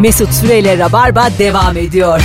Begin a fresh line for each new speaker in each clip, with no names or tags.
Mesut Süreyle Rabarba devam ediyor.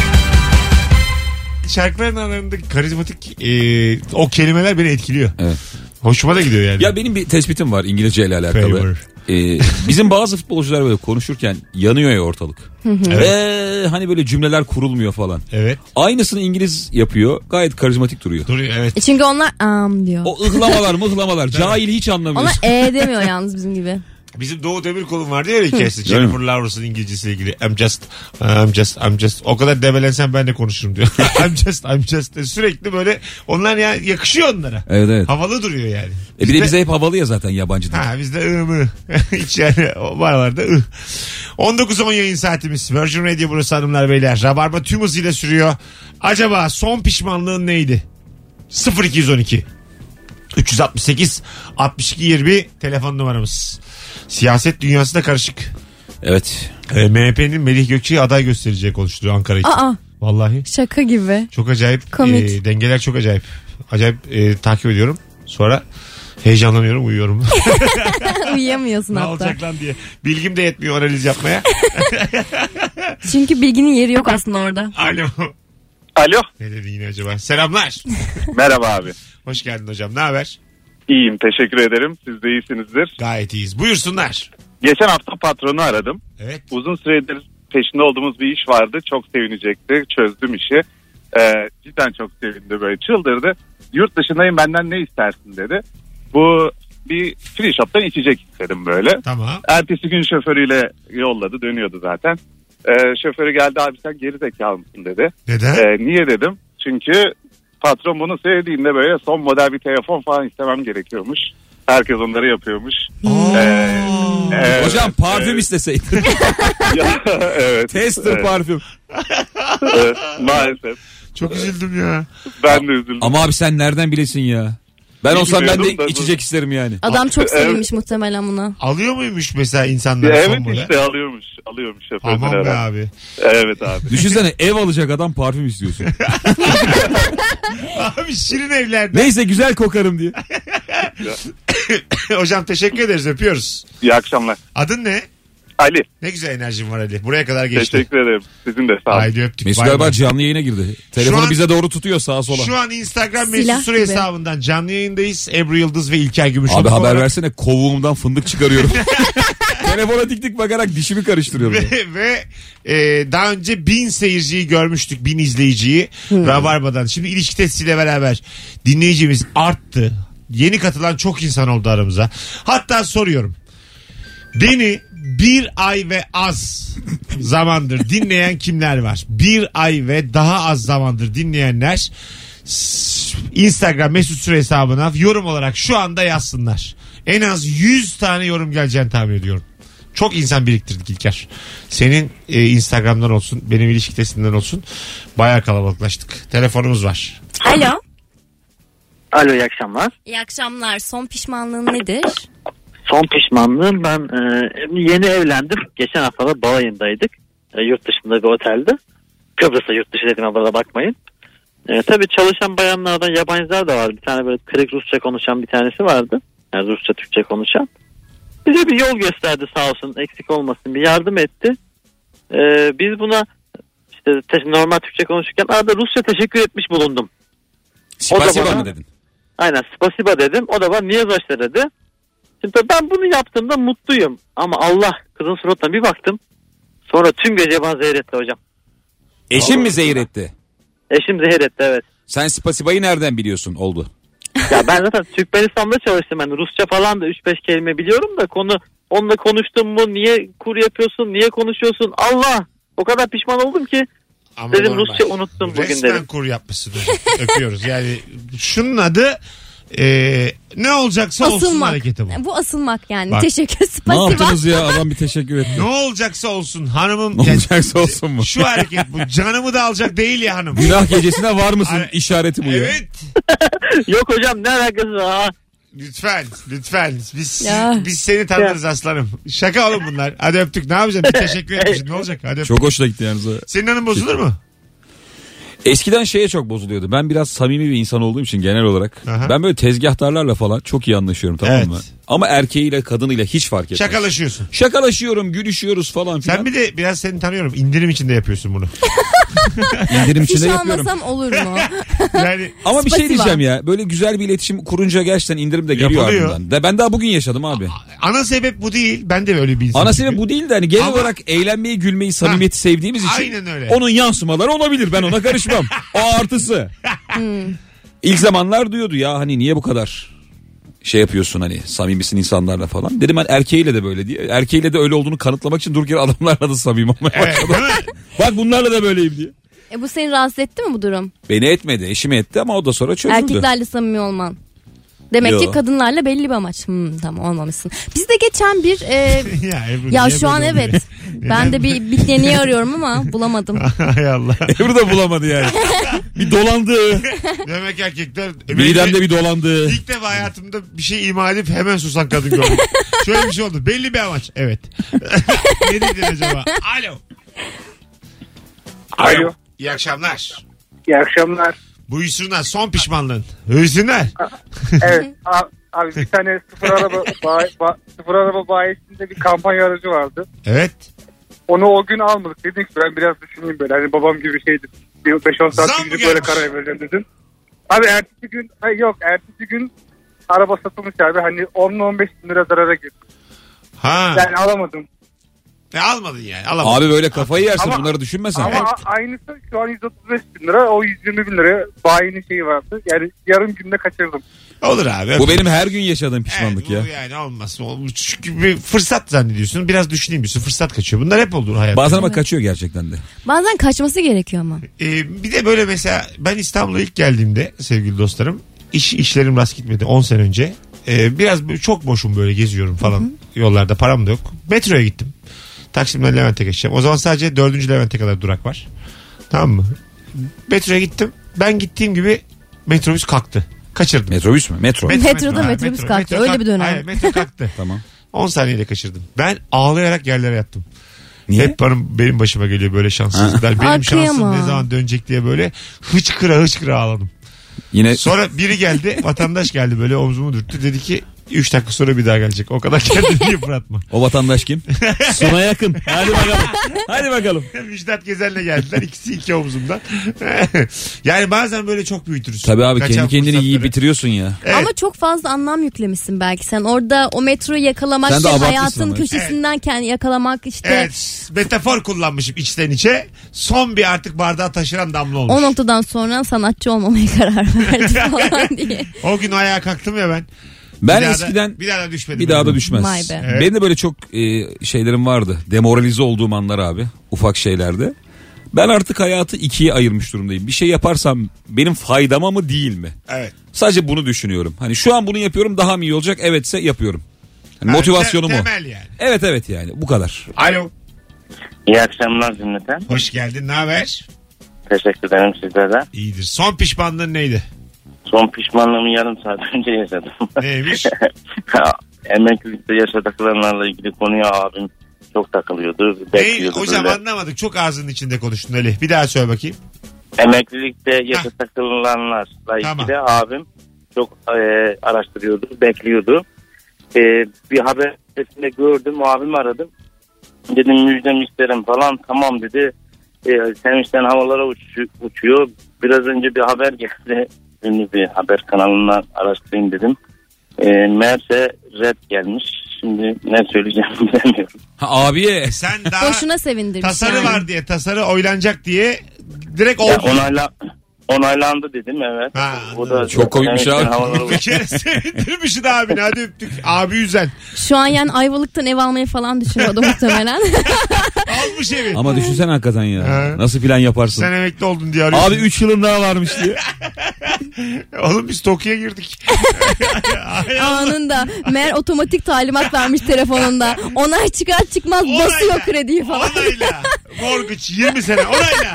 Şarkıların aralarındaki karizmatik e, o kelimeler beni etkiliyor.
Evet.
Hoşuma da gidiyor yani.
Ya benim bir tespitim var İngilizce ile alakalı.
Favor.
Ee, bizim bazı futbolcular böyle konuşurken yanıyor ya ortalık. Ve hani böyle cümleler kurulmuyor falan.
Evet.
Aynısını İngiliz yapıyor. Gayet karizmatik duruyor.
Duruyor evet.
E Çünkü onlar am diyor.
O ıhlamalar mıhlamalar. Cahil hiç
Ona
anlamıyorsun.
e demiyor yalnız bizim gibi.
Bizim Doğu Demirkol'un vardı ya bir hikayesi.
Öyle mi?
Jennifer Lawrence'ın İngilizcesiyle ilgili. I'm just, I'm just, I'm just. O kadar debelensen ben de konuşurum diyor. I'm just, I'm just. de Sürekli böyle onlar ya yakışıyor onlara.
Evet evet.
Havalı duruyor yani.
E bir de bize hep havalı ya zaten yabancı dil.
Ha bizde ı mı? Hiç yani o buralarda ı. 19.10 yayın saatimiz. Virgin Radio burası hanımlar beyler. Rabarba tüm hızıyla sürüyor. Acaba son pişmanlığın neydi? 0212 368 62 20 telefon numaramız. Siyaset dünyası da karışık.
Evet.
Ee, MHP'nin Melih Gökçe'yi aday göstereceği konuşuluyor Ankara için.
Aa
Vallahi
şaka gibi.
çok acayip.
Komik.
e, dengeler çok acayip. Acayip e, takip ediyorum. Sonra heyecanlanıyorum uyuyorum.
Uyuyamıyorsun
ne
hatta.
olacak lan diye. Bilgim de yetmiyor analiz yapmaya.
Çünkü bilginin yeri yok aslında orada.
Alo.
Alo.
Ne dedi yine acaba? Selamlar.
Merhaba abi.
Hoş geldin hocam. Ne haber?
İyiyim teşekkür ederim. Siz de iyisinizdir.
Gayet iyiyiz. Buyursunlar.
Geçen hafta patronu aradım.
Evet.
Uzun süredir peşinde olduğumuz bir iş vardı. Çok sevinecekti. Çözdüm işi. Ee, cidden çok sevindi böyle çıldırdı. Yurt dışındayım benden ne istersin dedi. Bu bir free shop'tan içecek istedim böyle.
Tamam.
Ertesi gün şoförüyle yolladı dönüyordu zaten. Ee, şoförü geldi abi sen geri zekalı mısın dedi.
Neden?
Ee, niye dedim? Çünkü patron bunu söylediğinde böyle son model bir telefon falan istemem gerekiyormuş. Herkes onları yapıyormuş.
Oo.
Ee, evet,
Hocam parfüm
evet.
isteseydin.
Ya, evet.
Tester
Evet,
parfüm.
evet, maalesef.
Çok üzüldüm ya.
Ben de üzüldüm.
Ama abi sen nereden bilesin ya? Ben olsam ben de
Bilmiyorum da-
içecek isterim yani.
Adam çok
Evet.
sevinmiş muhtemelen buna.
Alıyor muymuş mesela insanlar
E, evet
son model?
işte alıyormuş. Alıyormuş şoförden
Aman be
herhalde.
abi.
Evet abi.
Düşünsene ev alacak adam parfüm istiyorsun.
Abi şirin evlerde.
Neyse güzel kokarım diye.
hocam teşekkür ederiz öpüyoruz.
İyi akşamlar.
Adın ne?
Ali
Ne güzel enerjin var Ali. Buraya kadar geçti.
teşekkür ederim. Sizin de sağ olun.
Haydi öptük.
Mesut
Bay bay.
galiba canlı yayına girdi. Telefonu
an-
bize doğru tutuyor sağa sola.
Şu an Instagram
Silah
Mesut Süre
gibi.
hesabından canlı yayındayız. Ebru Yıldız ve İlker Gümüşoluk.
Abi haber
olarak-
versene kovuğumdan fındık çıkarıyorum. Telefona dik dik bakarak dişimi karıştırıyorum.
ve, ve e, daha önce bin seyirciyi görmüştük bin izleyiciyi Rabarba'dan. Şimdi ilişki testiyle beraber dinleyicimiz arttı. Yeni katılan çok insan oldu aramıza. Hatta soruyorum. Beni bir ay ve az zamandır dinleyen kimler var? Bir ay ve daha az zamandır dinleyenler s- Instagram mesut süre hesabına yorum olarak şu anda yazsınlar. En az 100 tane yorum geleceğini tahmin ediyorum. Çok insan biriktirdik İlker. Senin e, Instagram'dan olsun, benim ilişki testinden olsun. Bayağı kalabalıklaştık. Telefonumuz var.
Alo.
Alo iyi akşamlar.
İyi akşamlar. Son pişmanlığın nedir?
Son pişmanlığım ben e, yeni evlendim. Geçen hafta da balayındaydık. E, yurt dışında bir otelde. Kıbrıs'ta yurt dışı dedim bana bakmayın. E, tabii çalışan bayanlardan yabancılar da vardı. Bir tane böyle kırık Rusça konuşan bir tanesi vardı. Yani Rusça Türkçe konuşan. Bize bir yol gösterdi sağ olsun eksik olmasın bir yardım etti. E, biz buna işte te- normal Türkçe konuşurken arada Rusça teşekkür etmiş bulundum. O
Spasiba
da bana-
mı dedin?
Aynen spasiba dedim. O da bana niye zaşta dedi. Şimdi tabii ben bunu yaptığımda mutluyum. Ama Allah kızın suratına bir baktım. Sonra tüm gece bana zehir etti hocam.
Eşin mi zehir etti?
Eşim zehir etti evet.
Sen Spasiba'yı nereden biliyorsun? Oldu.
Ya ben zaten Türkmenistan'da çalıştım. Yani Rusça falan da 3-5 kelime biliyorum da konu onunla konuştum mu? Niye kur yapıyorsun? Niye konuşuyorsun? Allah! O kadar pişman oldum ki.
Ama
Dedim Rusça unuttum bugün
Resmen
dedim.
kur yapmışsın. hocam. Öpüyoruz. Yani şunun adı e, ne olacaksa olsun
Asılmak.
hareketi bu.
Bu asılmak yani.
Bak.
Teşekkür
Ne
spasiba.
yaptınız ya? Adam bir teşekkür etti.
Ne olacaksa olsun hanımım.
Ne
Yani
olacaksa olsun mu?
Şu hareket bu. Canımı da alacak değil ya hanım.
Günah gecesine var mısın
Ay-
işareti bu ya.
Evet.
Yok hocam ne alakası var? Aa,
Lütfen. Lütfen. Biz,
Ya.
biz seni tanırız aslanım. Şaka oğlum bunlar. Hadi öptük. Ne yapacaksın? Bir teşekkür etmişsin. Ne olacak? Hadi öptük.
Çok hoşuna gitti yalnız. ha.
Senin hanım bozulur mu?
Eskiden şeye çok bozuluyordu. Ben biraz samimi bir insan olduğum için genel olarak.
Aha.
Ben böyle tezgahtarlarla falan çok iyi anlaşıyorum tamam
Evet.
mı? Ama erkeğiyle kadınıyla hiç fark etmez.
Şakalaşıyorsun.
Şakalaşıyorum, gülüşüyoruz falan filan.
Sen bir de biraz seni tanıyorum. İndirim içinde yapıyorsun bunu.
İndirim
Fiş
içinde yapıyorum.
almasam olur mu?
Yani
Ama bir şey
Spasiba.
diyeceğim ya. Böyle güzel bir iletişim kurunca gerçekten indirim de geliyor
Yapılıyor.
ardından. De, ben daha bugün yaşadım abi.
ana sebep bu değil. Ben de öyle bir insanım.
Ana sebep bu değil de hani genel
Ama-
olarak eğlenmeyi, gülmeyi, samimiyeti sevdiğimiz için
Aynen öyle.
onun yansımaları olabilir. Ben ona karışmam. o artısı.
Hmm.
İlk zamanlar diyordu ya hani niye bu kadar şey yapıyorsun hani samimisin insanlarla falan. Dedim ben erkeğiyle de böyle diye. Erkeğiyle de öyle olduğunu kanıtlamak için durduk yere adamlarla da samimi olmaya
Evet,
başladım.
değil mi?
Bak bunlarla da böyleyim diye.
e bu seni rahatsız etti mi bu durum?
Beni etmedi eşimi etti ama o da sonra çözüldü.
Erkeklerle samimi olman. Demek ki
Yo.
kadınlarla belli bir amaç. Hmm, tamam olmamışsın. Bizde geçen bir e,
ya, Ebru,
ya
niye
şu an
böyle oluyor?
evet. Ben de bir bitlerini arıyorum ama bulamadım.
Hay Allah.
Ebru da bulamadı yani. bir dolandı.
Demek erkekler...
Midemde bir dolandı.
İlk defa hayatımda bir şey ima edip hemen susan kadın gördüm. Şöyle bir şey oldu. Belli bir amaç. Evet. ne dedin acaba? Alo.
Alo.
İyi akşamlar.
İyi akşamlar.
Buyursunlar. Son pişmanlığın. Buyursunlar.
Evet a- abi bir tane sıfır araba bayi- ba- sıfır araba bayisinde bir kampanya aracı vardı.
Evet.
Onu o gün almadık. Dedim ki ben biraz düşüneyim böyle. Hani babam gibi şeydi. Bir 5-10 saat
Zam mı
düşünüp böyle
gelmiş?
karar vereceğim dedim. Abi ertesi gün hayır yok ertesi gün araba satılmış abi. Hani 10-15 bin lira zarara girdi.
Ha.
Yani alamadım.
E, almadın yani. Alamadın.
Abi böyle kafayı yersin
Ama-
bunları düşünmesen.
Ama a- aynısı şu an 135 bin lira. O 120 bin lira bayinin şeyi vardı. Yani yarım günde kaçırdım.
Olur abi.
Bu benim her gün yaşadığım pişmanlık
evet,
ya.
bu yani olmaz. O- Çünkü bir fırsat zannediyorsun. Biraz düşüneyim diyorsun. Fırsat kaçıyor. Bunlar hep olur hayatta.
Bazen ama kaçıyor gerçekten de.
Bazen kaçması gerekiyor ama.
Ee, bir de böyle mesela ben İstanbul'a ilk geldiğimde sevgili dostlarım iş işlerim rast gitmedi 10 sene önce. Ee, biraz böyle çok boşum böyle geziyorum falan yollarda param da yok. Metroya gittim. Taksim'den Levent'e geçeceğim. O zaman sadece 4. Levent'e kadar durak var. Tamam mı? Metroya gittim. Ben gittiğim gibi metrobüs kalktı. Kaçırdım.
Metrobüs mü? Metro.
Metroda
ha,
metrobüs kalktı. Öyle bir dönem.
Hayır, metro kalktı.
tamam.
10 saniyede kaçırdım. Ben ağlayarak yerlere yattım.
Niye?
Hep benim, benim başıma geliyor böyle şanssızlıklar. Benim
Aa,
şansım
kıyamam.
ne zaman dönecek diye böyle hıçkıra hıçkıra ağladım.
Yine
Sonra biri geldi vatandaş geldi böyle omzumu dürttü. Dedi ki 3 dakika sonra bir daha gelecek. O kadar kendini yıpratma.
o vatandaş kim? Suna yakın. Hadi bakalım. Hadi bakalım.
Müjdat Gezen'le geldiler. ikisi iki omzumdan. yani bazen böyle çok büyütürüz.
Tabii abi
Kaçan
kendi kendini yiyip
fırsatları.
bitiriyorsun ya.
Evet.
Ama çok fazla anlam yüklemişsin belki. Sen orada o metroyu yakalamak,
Sen de
işte
abartmışsın
hayatın
ama.
köşesinden kendi yakalamak işte
Evet metafor kullanmışım içten içe. Son bir artık bardağa taşıran damla olmuş.
o noktadan sonra sanatçı olmamaya karar verdi falan diye.
O gün ayağa kalktım ya ben.
Ben
Bir daha da-
eskiden
bir daha da düşmedim.
bir daha da düşmez.
Vay be.
Evet.
Benim de böyle çok e, şeylerim vardı. Demoralize olduğum anlar abi. Ufak şeylerde. Ben artık hayatı ikiye ayırmış durumdayım. Bir şey yaparsam benim faydama mı değil mi?
Evet.
Sadece bunu düşünüyorum. Hani şu an bunu yapıyorum daha mı iyi olacak? Evetse yapıyorum. Yani
Yani
motivasyonum
te-
o.
Temel yani.
Evet evet yani bu kadar.
Alo.
İyi akşamlar cümleten.
Hoş geldin. Ne haber?
Teşekkür ederim sizlere.
İyidir. Son pişmanlığın neydi?
Son pişmanlığımı yarım saat önce yaşadım.
Neymiş?
Emeklilikte yaşadıklarımla ilgili konuya abim çok takılıyordu.
Ney?
Bekliyordu
Hocam
böyle.
anlamadık. Çok ağzının içinde konuştun Ali. Bir daha söyle bakayım.
Emeklilikte yaşadıklarımla ilgili
Tamam.
de abim çok e, araştırıyordu, bekliyordu. E, bir haber sitesinde gördüm, abimi aradım. Dedim müjdem isterim falan. Tamam dedi. E, sen işten havalara uç- uçuyor. Biraz önce bir haber geldi. Ünlü bir haber kanalından araştırayım dedim. E, meğerse red gelmiş. Şimdi ne söyleyeceğimi bilemiyorum.
Ha, abiye
E sen daha
Boşuna şey sevindirmiş.
tasarı
yani.
var diye, tasarı oylanacak diye direkt
Ya
oldu.
onayla, onaylandı dedim evet.
Ha,
O da
Çok komikmiş
Evet,
abi.
havalara
Bir kere sevindirmişsin abini. Hadi öptük. Abi üzen.
Şu an yani Ayvalık'tan ev almayı falan düşünüyordu muhtemelen.
Almış evi.
ama düşünsen hakikaten ya.
He.
Nasıl plan yaparsın?
Sen emekli oldun diye arıyorsun.
Abi 3 yılın daha varmış diye.
Oğlum biz Tokyo'ya girdik. Ay Allah.
Anında. Meğer otomatik talimat vermiş telefonunda. Onay çıkar çıkmaz basıyor
Onayla.
krediyi falan.
Onayla. Morgıç 20 sene onayla.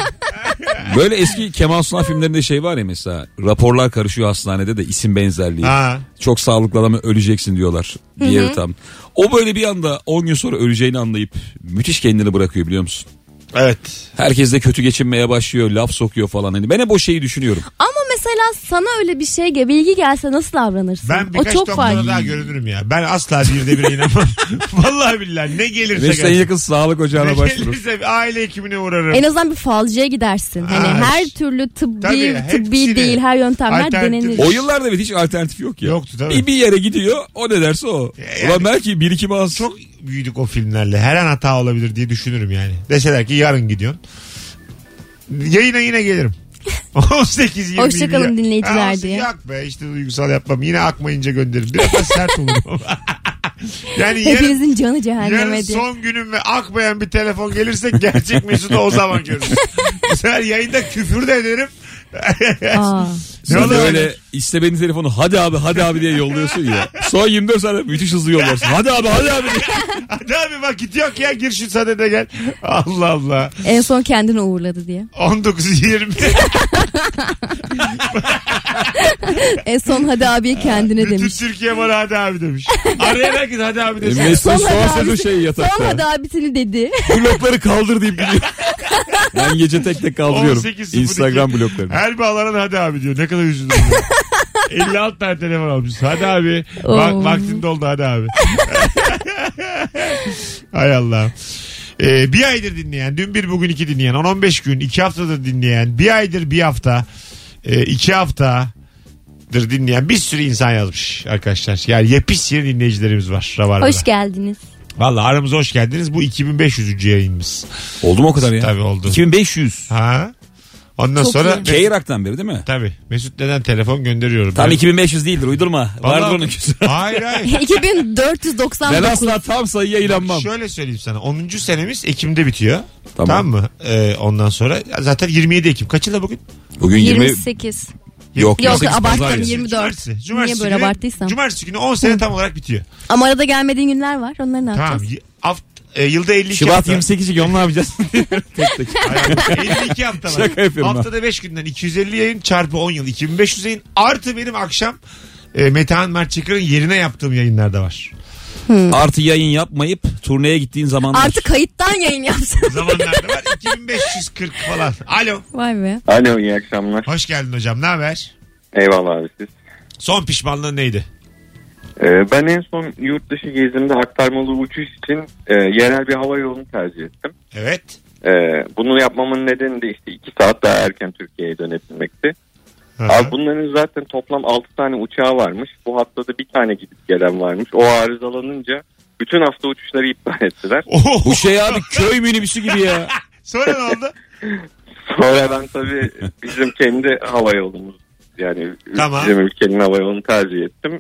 Böyle eski Kemal Sunal filmlerinde şey var ya mesela. Raporlar karışıyor hastanede de isim benzerliği.
Ha.
Çok sağlıklı adamı öleceksin diyorlar. Diğeri tam. O böyle bir anda 10 gün sonra öleceğini anlayıp müthiş kendini bırakıyor biliyor musun?
Evet.
Herkes de kötü geçinmeye başlıyor, laf sokuyor falan. Hani ben hep o şeyi düşünüyorum.
Ama mesela sana öyle bir şey ge- bilgi gelse nasıl davranırsın?
Ben
o
birkaç
çok
doktora
farklı.
daha görünürüm ya. Ben asla birde bire inanmam. Vallahi billahi ne gelirse
Ve işte en
gelsin.
yakın sağlık ocağına
Ne
başvurur.
gelirse aile hekimine uğrarım.
En azından bir falcıya gidersin. Hani
Ay.
her türlü tıbbi
Tabii, hepsini.
tıbbi değil her yöntemler
Alternatif.
denenir.
O yıllarda evet hiç alternatif yok ya.
Yoktu tabii.
Bir, bir yere gidiyor o ne derse o.
Yani-
Ulan belki bir iki az.
Çok büyüdük o filmlerle. Her an hata olabilir diye düşünürüm yani. Deseler ki yarın gidiyorsun. Yayına yine gelirim. 18 20
Hoşça kalın
ya-
dinleyiciler
Aa,
diye.
Yok be işte duygusal yapmam. Yine akmayınca gönderirim. Biraz da sert olurum. yani yarın,
Hepinizin canı
yarın
cehenneme diye.
son günüm ve akmayan bir telefon gelirse gerçek Mesut'u o zaman görürüz. Bu sefer yayında küfür de ederim.
Aa.
Ne
Sen de
oluyor?
öyle istemediğin telefonu hadi abi hadi abi diye yolluyorsun ya. Son 24 saat müthiş hızlı yolluyorsun. Hadi abi hadi abi diye.
Hadi abi vakit yok ya gir şu sadede gel. Allah Allah.
En son kendini uğurladı diye.
19-20.
En son hadi abiye kendine
Bütün
demiş.
Türkiye bana hadi abi demiş. Arayan herkes hadi abi demiş.
Mesut son
hadi
sözü
abisi-
şey
Son hadi
yatakta.
abisini dedi.
Blokları kaldır deyip gidiyor. Ben gece tek tek kaldırıyorum.
18.02.
Instagram bloklarını.
Her bağlanan hadi abi diyor. Ne kadar üzüldüm. diyor. 56 tane telefon almış. Hadi abi. Bak,
Oo.
vaktin doldu hadi abi. Hay Allah. Ee, bir aydır dinleyen, dün bir bugün iki dinleyen, 10-15 gün, iki haftadır dinleyen, bir aydır bir hafta, e, iki haftadır dinleyen bir sürü insan yazmış arkadaşlar. Yani yepis yeni dinleyicilerimiz var. Rabarba'da.
Hoş geldiniz.
Valla aramıza hoş geldiniz. Bu 2500. yayınımız.
Oldu mu o kadar ya?
Tabii oldu.
2500.
Ha. Ondan
Çok
sonra
iyi.
Keyrak'tan beri değil mi?
tabii Mesut neden telefon gönderiyorum.
Tam
Ben-
2500 değildir uydurma.
Vallahi-
Vardır onun küsü.
Hayır hayır.
2499.
Ben asla tam sayıya inanmam.
Şöyle söyleyeyim sana. 10. senemiz Ekim'de bitiyor. Tamam,
Tamam.
mı? Ee, ondan sonra zaten 27 Ekim. Kaçı da bugün?
Bugün
28.
Yok,
Yok
28
abarttım
pazar günü.
24.
Cumartesi. Cumartesi
Niye böyle
günü,
abarttıysam.
Cumartesi günü 10 sene tam olarak bitiyor.
Ama arada gelmediğin günler var. Onları ne
Tamam.
yapacağız?
Y- haft- e, yılda 52
Şubat
hafta.
28'i onu ne yapacağız? tek tek.
Hayır, 52 hafta var.
Şaka yapıyorum ben.
Haftada 5 günden 250 yayın çarpı 10 yıl 2500 yayın artı benim akşam e, Metehan Mertçakır'ın yerine yaptığım yayınlar da var.
Artı yayın yapmayıp turneye gittiğin zamanlar.
Artık kayıttan yayın yapsın.
Zamanlarda var 2540 falan. Alo.
Vay be.
Alo iyi akşamlar.
Hoş geldin hocam. Ne haber?
Eyvallah abi siz.
Son pişmanlığın neydi?
Ee, ben en son yurt dışı gezimde aktarmalı uçuş için e, yerel bir hava yolunu tercih ettim.
Evet.
E, bunu yapmamın nedeni de işte 2 saat daha erken Türkiye'ye dönebilmekti.
Ha.
Abi bunların zaten toplam 6 tane uçağı varmış. Bu haftada bir tane gidip gelen varmış. O arızalanınca bütün hafta uçuşları iptal ettiler.
Oo.
Bu şey abi köy minibüsü gibi ya.
Sonra ne oldu?
Sonra ben tabii bizim kendi hava yolumuz yani
Tamam.
bizim ülkenin hava yolunu tercih ettim.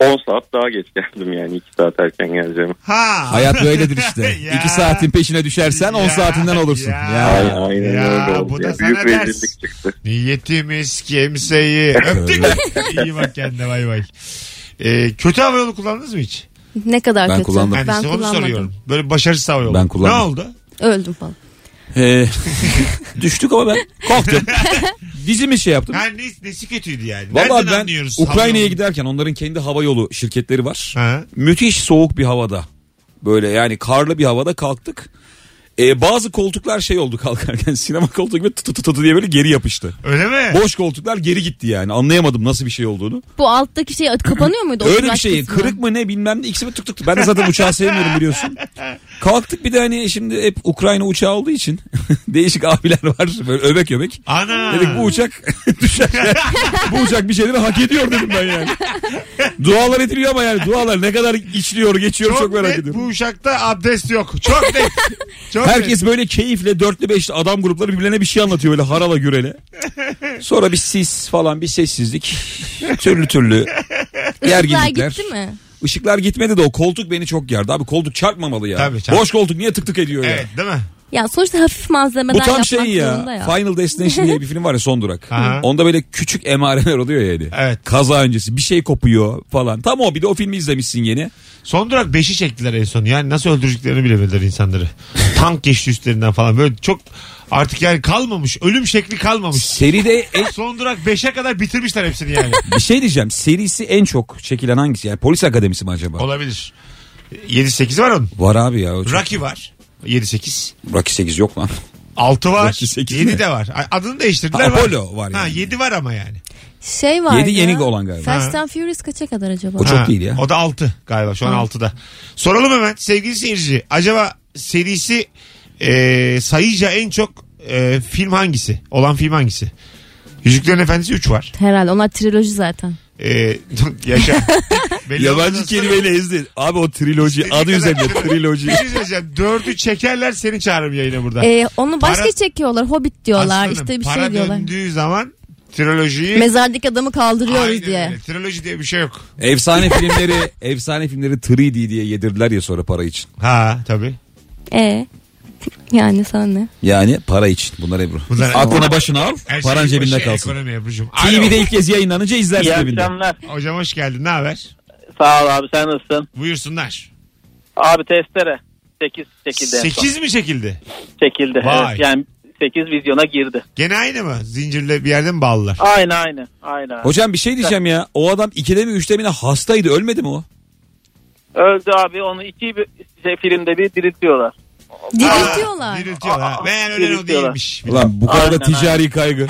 10 saat daha geç geldim yani 2 saat erken geleceğim.
Ha.
Hayat böyledir işte.
Ya.
2 saatin peşine düşersen 10
Ya.
saatinden olursun.
Ya.
Ya.
Aynen, aynen
Ya,
öyle oldu.
bu da
ya.
sana
Büyük
ders.
rezillik çıktı.
Niyetimiz kimseyi. Öptük. İyi bak kendine bay bay. Ee, kötü havayolu kullandınız mı hiç?
Ne kadar
Ben
kötü.
kullandım.
Yani
Ben
size onu
kullanmadım.
soruyorum. Böyle başarısız havayolu.
Ben kullandım.
Ne oldu?
Öldüm falan.
Ee, düştük ama ben korktum. Dizimi şey yaptım.
Ha, ne, nesi kötüydü yani?
Valla
Nereden
ben
anlıyoruz?
Ukrayna'ya
havayolu?
giderken onların kendi hava yolu şirketleri var.
Ha.
Müthiş soğuk bir havada. Böyle yani karlı bir havada kalktık. Ee, bazı koltuklar şey oldu kalkarken sinema koltuğu gibi tut tut tut diye böyle geri yapıştı.
Öyle mi?
Boş koltuklar geri gitti yani anlayamadım nasıl bir şey olduğunu.
Bu alttaki şey kapanıyor muydu?
Öyle bir
Oturak
şey
kısmı.
kırık mı ne bilmem ne ikisi mi tık tık tık. Ben de zaten uçağı sevmiyorum biliyorsun. Kalktık bir de hani şimdi hep Ukrayna uçağı olduğu için değişik abiler var böyle öbek öbek.
Ana.
Dedik bu uçak düşer. bu uçak bir şeyleri hak ediyor dedim ben yani. Dualar ediliyor ama yani dualar ne kadar içliyor geçiyor çok,
çok,
merak
net
ediyorum.
bu uçakta abdest yok. Çok net. Çok net.
Herkes böyle keyifle dörtlü beşli adam grupları birbirlerine bir şey anlatıyor böyle harala gürele. Sonra bir sis falan bir sessizlik. türlü türlü
Işıklar
gerginlikler.
gitti mi?
Işıklar gitmedi de o koltuk beni çok gerdi. Abi koltuk çarpmamalı ya.
Tabii, çarp-
Boş koltuk niye tık tık ediyor
Evet
ya?
değil mi?
Ya sonuçta hafif malzemeden
Bu tam
yapmak
şey
zorunda
ya,
ya.
Final Destination diye bir film var ya son durak.
Aha.
Onda böyle küçük emareler oluyor yani.
Evet.
Kaza öncesi bir şey kopuyor falan. Tam o bir de o filmi izlemişsin yeni.
Son durak 5'i çektiler en son. Yani nasıl öldüreceklerini bilemediler insanları. Tank geçti üstlerinden falan. Böyle çok artık yani kalmamış. Ölüm şekli kalmamış.
Seride en-
Son durak 5'e kadar bitirmişler hepsini yani.
bir şey diyeceğim. Serisi en çok çekilen hangisi? Yani Polis Akademisi mi acaba?
Olabilir. 7-8 var onun.
Var abi ya. o çok-
Rocky var. 7-8.
Rocky 8 yok lan.
6 var.
Rocky sekiz
7
mi?
de var. Adını değiştirdiler.
Ha, Apollo var
Ha,
yani.
7 var ama yani.
Şey vardı.
Yedi yeni olan galiba.
Fast and Furious kaça kadar acaba?
O çok değil ya.
O da 6 galiba şu an 6'da. Soralım hemen sevgili seyirci. Acaba serisi e, sayıca en çok e, film hangisi? Olan film hangisi? Yüzüklerin Efendisi 3 var.
Herhalde onlar triloji zaten.
E, yaşa. Belli olmaz.
Yabancı kelimeyle ezdi. Abi o triloji adı üzerinde triloji.
Bir şey söyleyeceğim. Dördü çekerler seni çağırırım yayına burada.
Ee, onu başka
Para-
çekiyorlar. Hobbit diyorlar.
Aslanım,
işte bir
para
şey diyorlar.
döndüğü zaman trilojiyi...
Mezardaki adamı kaldırıyoruz
Aynen
diye.
öyle. Triloji diye bir şey yok.
efsane filmleri efsane filmleri 3D diye yedirdiler ya sonra para için.
Ha tabii.
E yani sana ne?
Yani para için. Bunlar Ebru.
Bunlar-
Aklına başına al.
Her şey
paran
başı
cebinde kalsın.
Ekonomi Ebru'cum. Alo.
TV'de ilk kez yayınlanınca izlersin
İyi
cebinde.
akşamlar.
Hocam hoş geldin. Ne haber?
Sağ ol abi sen nasılsın?
Buyursunlar.
Abi testere. 8 çekildi. en son.
8 mi çekildi?
Çekildi.
Vay.
Evet, yani 8 vizyona girdi.
Gene aynı mı? Zincirle bir yerde mi bağlılar?
Aynı aynı. Aynı. abi.
Hocam bir şey diyeceğim ya. O adam ikide mi üçte mi ne hastaydı ölmedi mi o?
Öldü abi onu iki bir- şey, filmde bir diriltiyorlar.
Diriltiyorlar.
Aa, Diriltiyorlar.
Aa,
Meğer ölen o
diriltiyorlar.
değilmiş.
Ulan bu kadar da
Aynen,
ticari kaygı.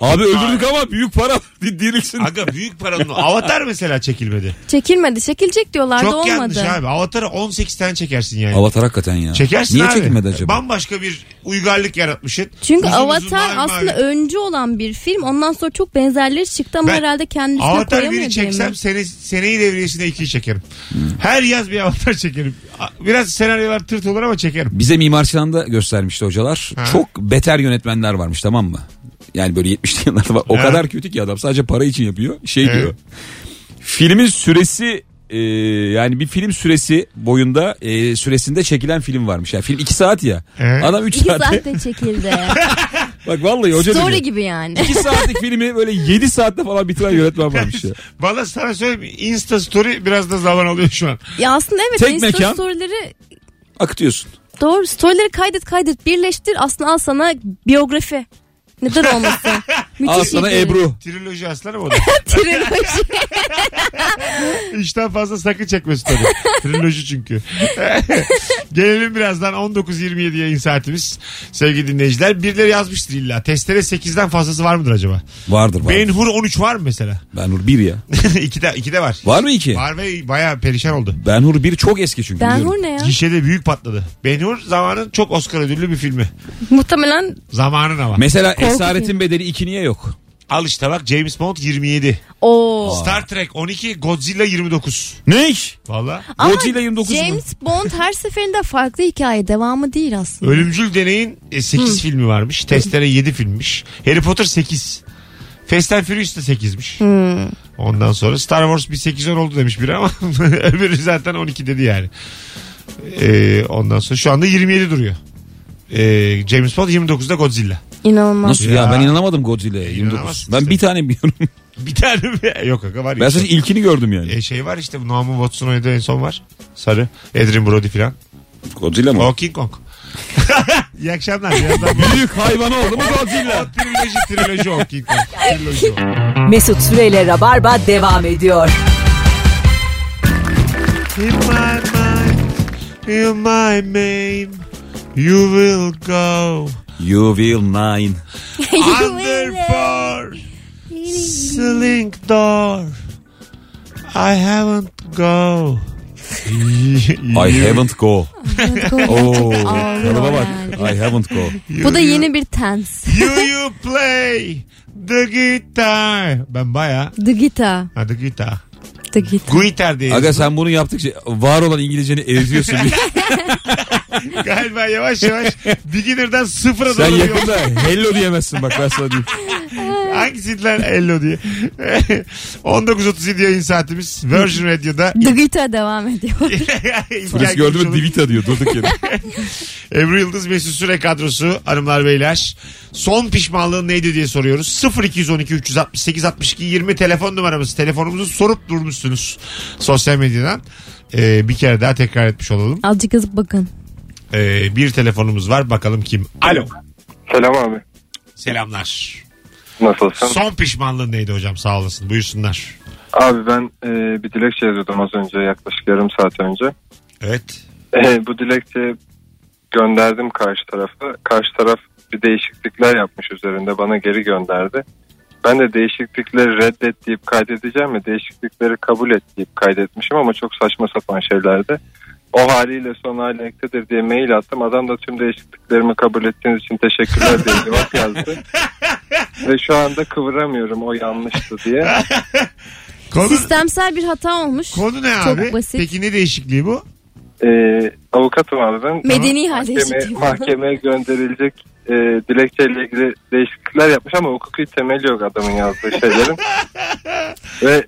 Abi öldürdük ama büyük para di- dirilsin.
Aga büyük paranın Avatar mesela çekilmedi.
Çekilmedi. Çekilecek diyorlardı
Çok yanlış
olmadı.
abi. Avatar'ı 18 tane çekersin yani.
Avatar hakikaten ya.
Çekersin
Niye
abi.
çekilmedi acaba?
Bambaşka bir uygarlık yaratmışsın.
Çünkü
Uzun uzun
Avatar
mavi mavi.
aslında öncü olan bir film. Ondan sonra çok benzerleri çıktı ama
Ben
herhalde kendisine
Avatar
koyamıyor
biri
diye mi?
çeksem sene, seneyi devriyesinde ikiyi çekerim. Her yaz bir avatar çekerim. A- Biraz senaryolar tırt olur ama çekerim.
Bize Mimar Sinan'da göstermişti hocalar.
Ha.
Çok beter yönetmenler varmış tamam mı? Yani böyle 70'li yıllarda var. O
Ha.
kadar kötü ki adam sadece para için yapıyor. Şey
Evet.
diyor. Filmin süresi e, yani bir film süresi boyunda e, süresinde çekilen film varmış. Yani film 2 saat ya.
Evet.
Adam 3
İki
saat.
saatte çekildi.
Bak vallahi hoca diyor.
Story gibi yani.
2 saatlik filmi böyle 7 saatte falan bitiren yönetmen varmış ya.
Valla sana söyleyeyim Insta story biraz da zaman alıyor şu an.
Ya aslında evet.
Tek
Insta
mekan.
Storyleri
Akıtıyorsun.
Doğru. Storyleri kaydet kaydet birleştir. Aslında al sana biyografi. Neden olmasın? Müthiş
Al sana
iyi gelir.
Ebru.
Triloji aslanım o da.
Triloji.
İşten fazla sakın çekme story. Triloji çünkü. Gelelim birazdan 19.27 yayın saatimiz. Sevgili dinleyiciler birileri yazmıştır illa. Testere 8'den fazlası var mıdır acaba?
Vardır var.
Ben Hur 13 var mı mesela?
Ben Hur 1 ya.
2'de, 2'de var.
Var mı 2?
Var ve bayağı perişan oldu.
Ben Hur 1 çok eski çünkü.
Ben
biliyorum.
Hur ne ya?
Gişede büyük patladı. Ben Hur zamanın çok Oscar ödüllü bir filmi.
Muhtemelen
Zamanın ama.
Mesela
Korku
Esaretin
filmi.
Bedeli 2 niye yok?
Al işte bak James Bond 27.
o.
Star Trek 12, Godzilla 29.
Ne iş?
Valla.
Godzilla 29 mu?
James Bond her seferinde farklı hikaye devamı değil aslında.
Ölümcül Deney'in 8 filmi varmış. Testere 7 filmmiş. Harry Potter 8. Fast and Furious da 8'miş.
Hmm,
Ondan sonra Star Wars bir 8-10 oldu demiş biri ama öbürü zaten 12 dedi yani. Ee, ondan sonra şu anda 27 duruyor. Ee, James Bond 29'da Godzilla.
İnanılmaz.
Nasıl ya?
Ya.
ben inanamadım Godzilla'ya 29.
İnanamazsın
Ben
işte.
bir tane biliyorum.
Bir tane mi? Yok aga var.
ben
ya.
sadece ilkini gördüm yani.
E şey var işte bu Norman Watson oynadığı en son var. Sarı. Adrian Brody filan.
Godzilla
O King Kong. İyi akşamlar. Birazdan bu
Büyük hayvan oldu mu Godzilla?
triloji triloji o King Kong. Triloji o.
Mesut Süreyle Rabarba devam ediyor.
In my mind, in my name, you will go
You will nine.
under for slink door. I haven't go.
I haven't go. Oo.
Ağlıyor
Kalıba bak.
yani.
I haven't go.
Bu da yeni bir tens.
You you play the guitar. Ben baya
The guitar.
ha the guitar.
The guitar.
Guitar diye.
Aga sen bunu yaptıkça var olan İngilizceni eritiyorsun.
Galiba yavaş yavaş beginner'dan sıfıra
sen
doğru
yakında hello diyemezsin bak ben sana diyeyim.
Hangisi lan Ello diye. 19.37 yayın saatimiz. Virgin Radio'da
The guitar devam ediyor.
Polis
İlker
gördü mü
Gümüşoluk,
divita diyor durduk yere.
Ebru Yıldız Mesut Süre kadrosu hanımlar beyler. Son pişmanlığın neydi diye soruyoruz. 0212 368 62 20 telefon numaramız. Telefonumuzu sorup durmuşsunuz sosyal medyadan. Ee, bir kere daha tekrar etmiş olalım.
Azıcık azıcık bakın.
Ee, bir telefonumuz var bakalım kim. Alo.
Selam abi.
Selamlar.
Nasılsın?
Son pişmanlığın neydi hocam sağ olasın buyursunlar.
Abi ben e, bir dilekçe yazıyordum az önce yaklaşık yarım saat önce.
Evet.
E, bu dilekçe gönderdim karşı tarafa. Karşı taraf bir değişiklikler yapmış üzerinde bana geri gönderdi.
Ben de değişiklikleri reddet deyip kaydedeceğim ve değişiklikleri kabul et deyip kaydetmişim ama çok saçma sapan şeylerdi. O haliyle son hali ektedir diye mail attım. Adam da tüm değişikliklerimi kabul ettiğiniz için teşekkürler diye cevap yazdı. ve şu anda kıvıramıyorum o yanlıştı diye.
Konu,
Sistemsel bir hata olmuş.
konu ne
Çok
abi?
basit.
Peki ne değişikliği bu?
Ee, avukatım abi ben.
Medeni hal
mahkemeye,
değişikliği.
mahkemeye gönderilecek e, dilekçeyle ilgili değişiklikler yapmış ama hukuki temeli yok adamın yazdığı şeylerin. Ve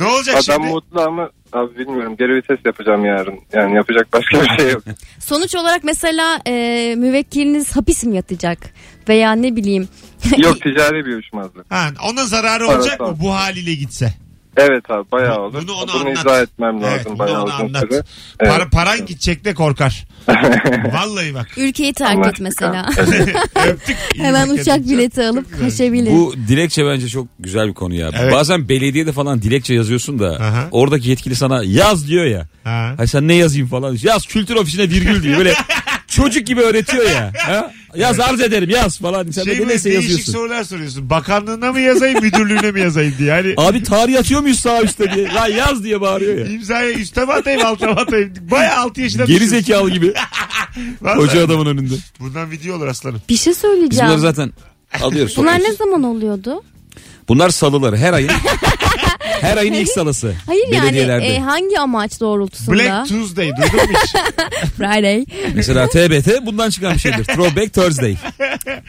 Ne olacak
adam
şimdi?
mutlu ama abi bilmiyorum geri vites yapacağım yarın. Yani yapacak başka bir şey yok.
Sonuç olarak mesela e, müvekkiliniz hapis mi yatacak? Veya ne bileyim.
yok ticari bir uyuşmazlık.
Ha, ona zararı
Evet,
olacak mı
tamam.
bu haliyle gitse?
Evet abi bayağı
Bu-
olur.
bunu
Bunu,
ona anlat.
izah etmem lazım
Evet, bunu
bayağı
ona
uzun
anlat.
süre. Evet.
Para, paran gidecek de korkar. Vallahi bak.
Ülkeyi terk
Allah
et mesela.
Öptük. İyi
Hemen
bak
uçak
kendinize.
bileti alıp kaçabilir.
Bu dilekçe bence çok güzel bir konu ya.
Evet.
Bazen belediyede falan dilekçe yazıyorsun da
Aha.
oradaki yetkili sana yaz diyor ya.
Ha.
Ay sen ne yazayım falan. diyor. Yaz kültür ofisine virgül diyor. Böyle çocuk gibi öğretiyor ya. Ha? Yaz arz ederim yaz falan. Sen
Şey
de
böyle
neyse
değişik
yazıyorsun.
sorular soruyorsun. Bakanlığına mı yazayım müdürlüğüne mi yazayım diye. Hani Yani
Abi tarih atıyor muyuz sağ üstte diye. Lan yaz diye bağırıyor ya.
imzaya üste mi atayım alta mı atayım. Baya 6 yaşında.
Geri
düşün.
zekalı gibi.
Vallahi.
Koca adamın önünde.
Bundan video olur aslanım.
Bir şey
Biz
söyleyeceğim.
bunları zaten alıyoruz.
Bunlar ne
topluyoruz.
zaman oluyordu?
Bunlar salıları her ayın. her ayın ilk salısı.
Hayır yani
Belediyelerde.
e, hangi amaç doğrultusunda?
Black Tuesday duydun mu hiç?
Friday.
Mesela TBT bundan çıkan bir şeydir. Throwback Thursday.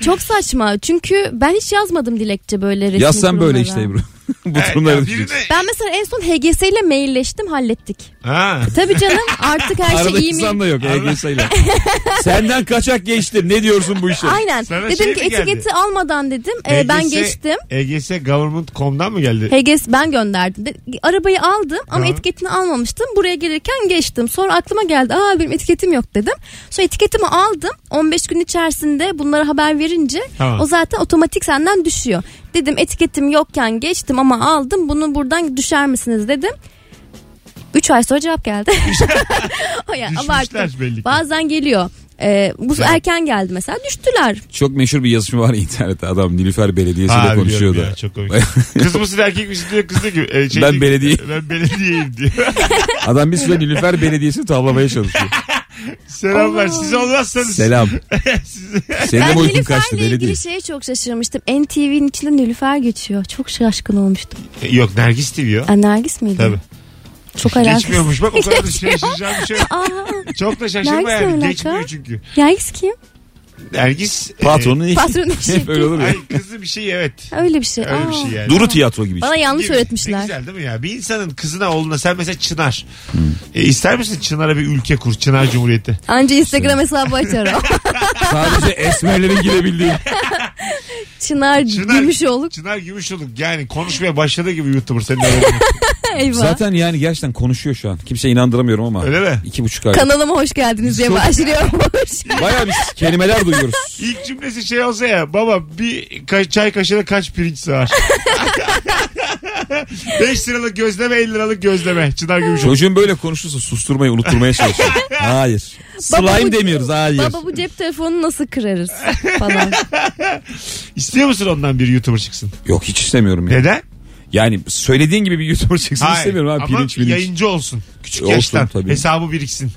Çok saçma çünkü ben hiç yazmadım dilekçe böyle resim
Yazsan böyle işte
kurumlara.
Ebru. Bu
Ya
durumlara düşeceksin.
birine...
Ben mesela en son HGS ile mailleştim hallettik.
Ha.
Tabii canım artık her
Arada
şey iyi
insan
mi?
da yok EGS ile. Senden kaçak geçti. Ne diyorsun bu işe?
Aynen.
Sana
dedim
şey mi
ki
geldi?
etiketi almadan dedim. E, ben
EGS
geçtim.
EGS government.com'dan mı geldi?
HGS ben gönderdim. De- Arabayı aldım ama
Hı.
etiketini almamıştım. Buraya gelirken geçtim. Sonra aklıma geldi. Aa benim etiketim yok dedim. Sonra etiketimi aldım. 15 gün içerisinde bunlara haber verince
Tamam.
o zaten otomatik senden düşüyor. Dedim etiketim yokken geçtim ama aldım. Bunu buradan düşer misiniz dedim. 3 ay sonra cevap geldi. o ya
Düşmüşler
abarttım.
belli ki.
Bazen geliyor. Ee, bu erken geldi mesela düştüler.
Çok meşhur bir yazışma var internette. Adam Nilüfer Belediyesi
Ha,
ile
biliyorum
konuşuyordu.
ya, çok komik. Kız mısın erkek misin diyor kız diyor ki. e, şey
Ben
diyor-
belediyeyim.
Ben belediyeyim diyor.
Adam bir süre Nilüfer Belediyesi'ni tavlamaya çalışıyor.
Selamlar siz olmazsanız.
Selam.
Siz-
Senin
ben
uykun
Nilüfer'le
kaçtı
ilgili
belli değil.
şeye çok şaşırmıştım. NTV'nin içinde Nilüfer geçiyor. Çok şaşkın olmuştum.
Yok Nergis TV o.
Yani Nergis miydi?
Tabii.
Çok alakasız.
Geçmiyormuş bak o kadar da şaşıracağım bir şey yok.
Aa,
Çok da şaşırma
Nergis'le
yani.
alaka?
Geçmiyor çünkü.
Nergis kim?
Nergis. e,
Patronun eşi.
şey- Patronun eşi.
Hep öyle olur ya.
Ay kızı bir şey evet.
Öyle bir şey.
Öyle
Aa.
bir şey yani.
Duru tiyatro gibi
Bana
işte.
yanlış
Gibi. Ne
öğretmişler.
güzel değil mi ya? Bir insanın kızına oğluna sen mesela Çınar.
Hmm.
E, ister misin Çınar'a bir ülke kur? Çınar Cumhuriyeti.
Anca Instagram hesabı açar o.
Sadece esmerlerin girebildiği.
Çınar,
Çınar-
Gümüşoğlu.
Çınar Gümüşoluk yani konuşmaya başladığı gibi YouTuber senin aranın.
Eyvah.
Zaten yani gerçekten konuşuyor şu an. Kimseye inandıramıyorum ama.
Öyle mi?
İki buçuk ay.
Kanalıma hoş geldiniz diye başlıyormuş.
Baya biz kelimeler duyuyoruz.
İlk cümlesi şey olsa ya baba bir ka- çay kaşığına kaç pirinç sığar? 5 liralık gözleme 50 liralık gözleme. Çınar Gümüşoluk.
Çocuğun böyle konuşursa susturmayı unutturmaya çalışıyor. Hayır. Slime
Baba bu-
demiyoruz hayır.
Baba bu cep telefonunu nasıl kırarız falan.
İstiyor musun ondan bir YouTuber çıksın?
Yok hiç istemiyorum ya.
Neden?
Yani söylediğin gibi bir YouTuber çıksın
Hayır.
istemiyorum abi.
Ama
Pirinç pirinç.
yayıncı olsun. Küçük
Olsun
yaştan.
tabii.
Hesabı biriksin.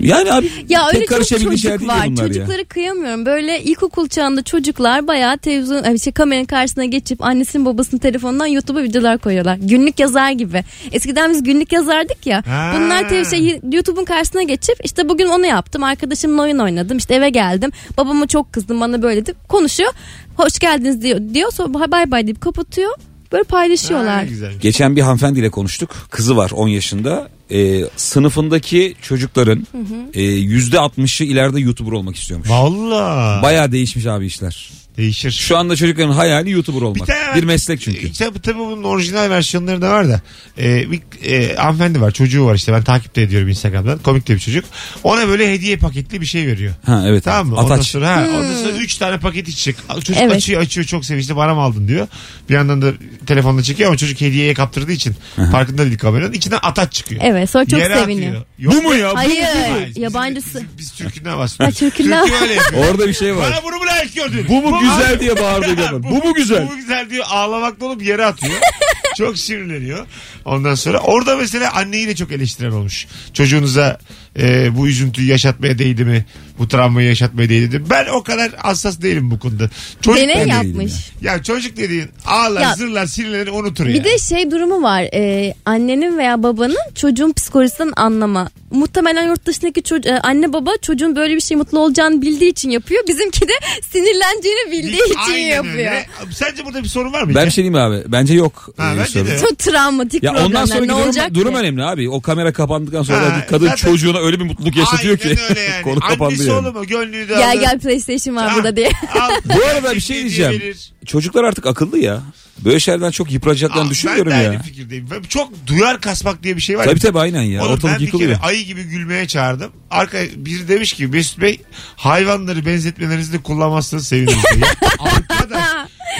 Yani abi
Ya öyle
tek
çok
karışabildiği şeyler
çocuk
değil ya
var.
bunlar ya.
Çocukları kıyamıyorum. Böyle ilkokul çağında çocuklar bayağı televizyon, ay şey, kameranın karşısına geçip annesinin babasının telefonundan YouTube'a videolar koyuyorlar. Günlük yazar gibi. Eskiden biz günlük yazardık ya.
Ha.
Bunlar telev- şey, YouTube'un karşısına geçip işte bugün onu yaptım. Arkadaşımla oyun oynadım. İşte eve geldim. Babama çok kızdım bana böyle deyip konuşuyor. Hoş geldiniz diyor. diyor sonra bay bay deyip kapatıyor. Böyle
Ha,
paylaşıyorlar.
güzel.
Geçen bir hanımefendiyle konuştuk. Kızı var 10 yaşında. Ee, sınıfındaki çocukların e, %60'ı ileride YouTuber olmak istiyormuş.
Valla.
Bayağı değişmiş abi işler.
Değişir.
Şu anda çocukların hayali YouTuber
Bir
olmak. Bir,
tane-
meslek çünkü.
E, Tabii, tabii bunun orijinal versiyonları da var da. Ee, bir e, hanımefendi var çocuğu var işte ben takip de ediyorum Instagram'dan. Komik de bir çocuk. Ona böyle hediye paketli bir şey veriyor.
Ha evet.
Tamam mı? Ondan
Ataç.
sonra, ha, ondan sonra üç tane paket içecek. Çocuk
Hmm. Evet.
açıyor açıyor çok sevinçli bana mı aldın diyor. Bir yandan da telefonla çekiyor ama çocuk hediyeye kaptırdığı için farkında değil kameranın. İçinden ataç çıkıyor.
Evet sonra çok
Yere
seviniyor.
atıyor. Yok
Bu mu ya?
Hayır
Hayır, biz-
yabancısı.
Biz, biz, Türk'ünden bahsediyoruz.
Ha, Türk'ünden.
Türk'ü öyle yapıyor.
Orada bir şey var.
Bana bunu mu lazım? layık gördün.
Bu mu güzel diye bağırdı Gaban. Bu mu güzel?
Bu güzel diyor ağlamakta olup yere atıyor. çok sinirleniyor. Ondan sonra orada mesela anneyi de çok eleştiren olmuş. Çocuğunuza e, bu üzüntüyü yaşatmaya değdi mi? Bu travmayı yaşatmaya değdi mi? Ben o kadar hassas değilim bu konuda. Çocuk,
Deney
değilim
yapmış.
ya çocuk dediğin ağlar,
Ya-
zırlar, sinirlenir, unutur ya.
Bir de şey durumu var. Ee, annenin veya babanın çocuğun psikolojisinden anlama. Muhtemelen yurt dışındaki çoc- e, anne baba çocuğun böyle bir şey mutlu olacağını bildiği için yapıyor. Bizimki de sinirleneceğini bildiği için
Aynen
yapıyor.
öyle. Sence burada bir sorun var mı?
Ben bir şey diyeyim mi abi? Bence yok.
Ha,
Ee,
bence
sorun.
de yok.
Çok travmatik
Ya
problemler.
ondan sonra
ne olacak
durum, durum hani-
ki?
önemli abi. O kamera kapandıktan sonra
Ha,
kadın
zaten-
çocuğuna öyle bir mutluluk yaşatıyor
Aynen
ki.
öyle yani.
Konu kapandı
Annesi
yani.
oğlum o gönlünü de
Gel
alır.
gel PlayStation var
Ah,
burada diye.
al.
Bu arada bir şey
Hediye
diyeceğim.
verir.
Çocuklar artık akıllı ya. Böyle şeylerden çok yıpranacaklarını
Aa,
düşünmüyorum
Ah, ben de
ya.
aynı fikirdeyim. Ben çok duyar kasmak diye bir şey var.
Tabii tabii aynen ya.
Oğlum
Ortalık
ben bir
yıkılıyor.
kere ayı gibi gülmeye çağırdım. Arka biri demiş ki Mesut Bey hayvanları benzetmelerinizi de kullanmazsanız sevinirim. diye. arkadaş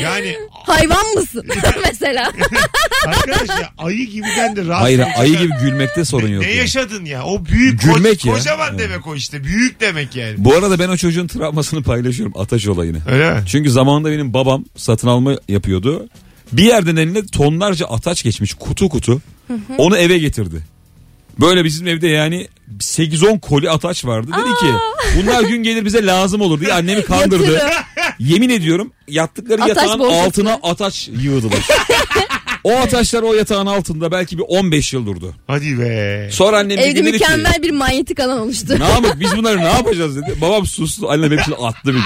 yani
Hayvan mısın mesela?
arkadaş ya ayı gibiden de rahatsız.
Hayır
edici
ayı
kadar-
gibi gülmekte sorun yok.
Ne
ya.
yaşadın ya? O büyük
Gülmek
ko-
ya.
kocaman
Evet.
demek o işte. Büyük demek yani.
Bu arada ben o çocuğun travmasını paylaşıyorum. Ataç olayını.
Öyle mi?
Çünkü zamanında benim babam satın alma yapıyordu. Bir yerden eline tonlarca ataç geçmiş kutu kutu. Onu eve getirdi. Böyle bizim evde yani 8-10 koli ataç vardı. Dedi ki bunlar gün gelir bize lazım olur diye annemi kandırdı.
Yatırım.
Yemin ediyorum yattıkları
Ataç
yatağın
borsası.
altına ataç yığdılar. o ataçlar o yatağın altında belki bir 15 yıl durdu.
Hadi be.
Sonra annem bir şey.
Evde
gün dedi ki
mükemmel bir manyetik alan oluştu.
ne yapalım biz bunları ne yapacağız dedi. Babam sustu annem hepsini attı bir gün.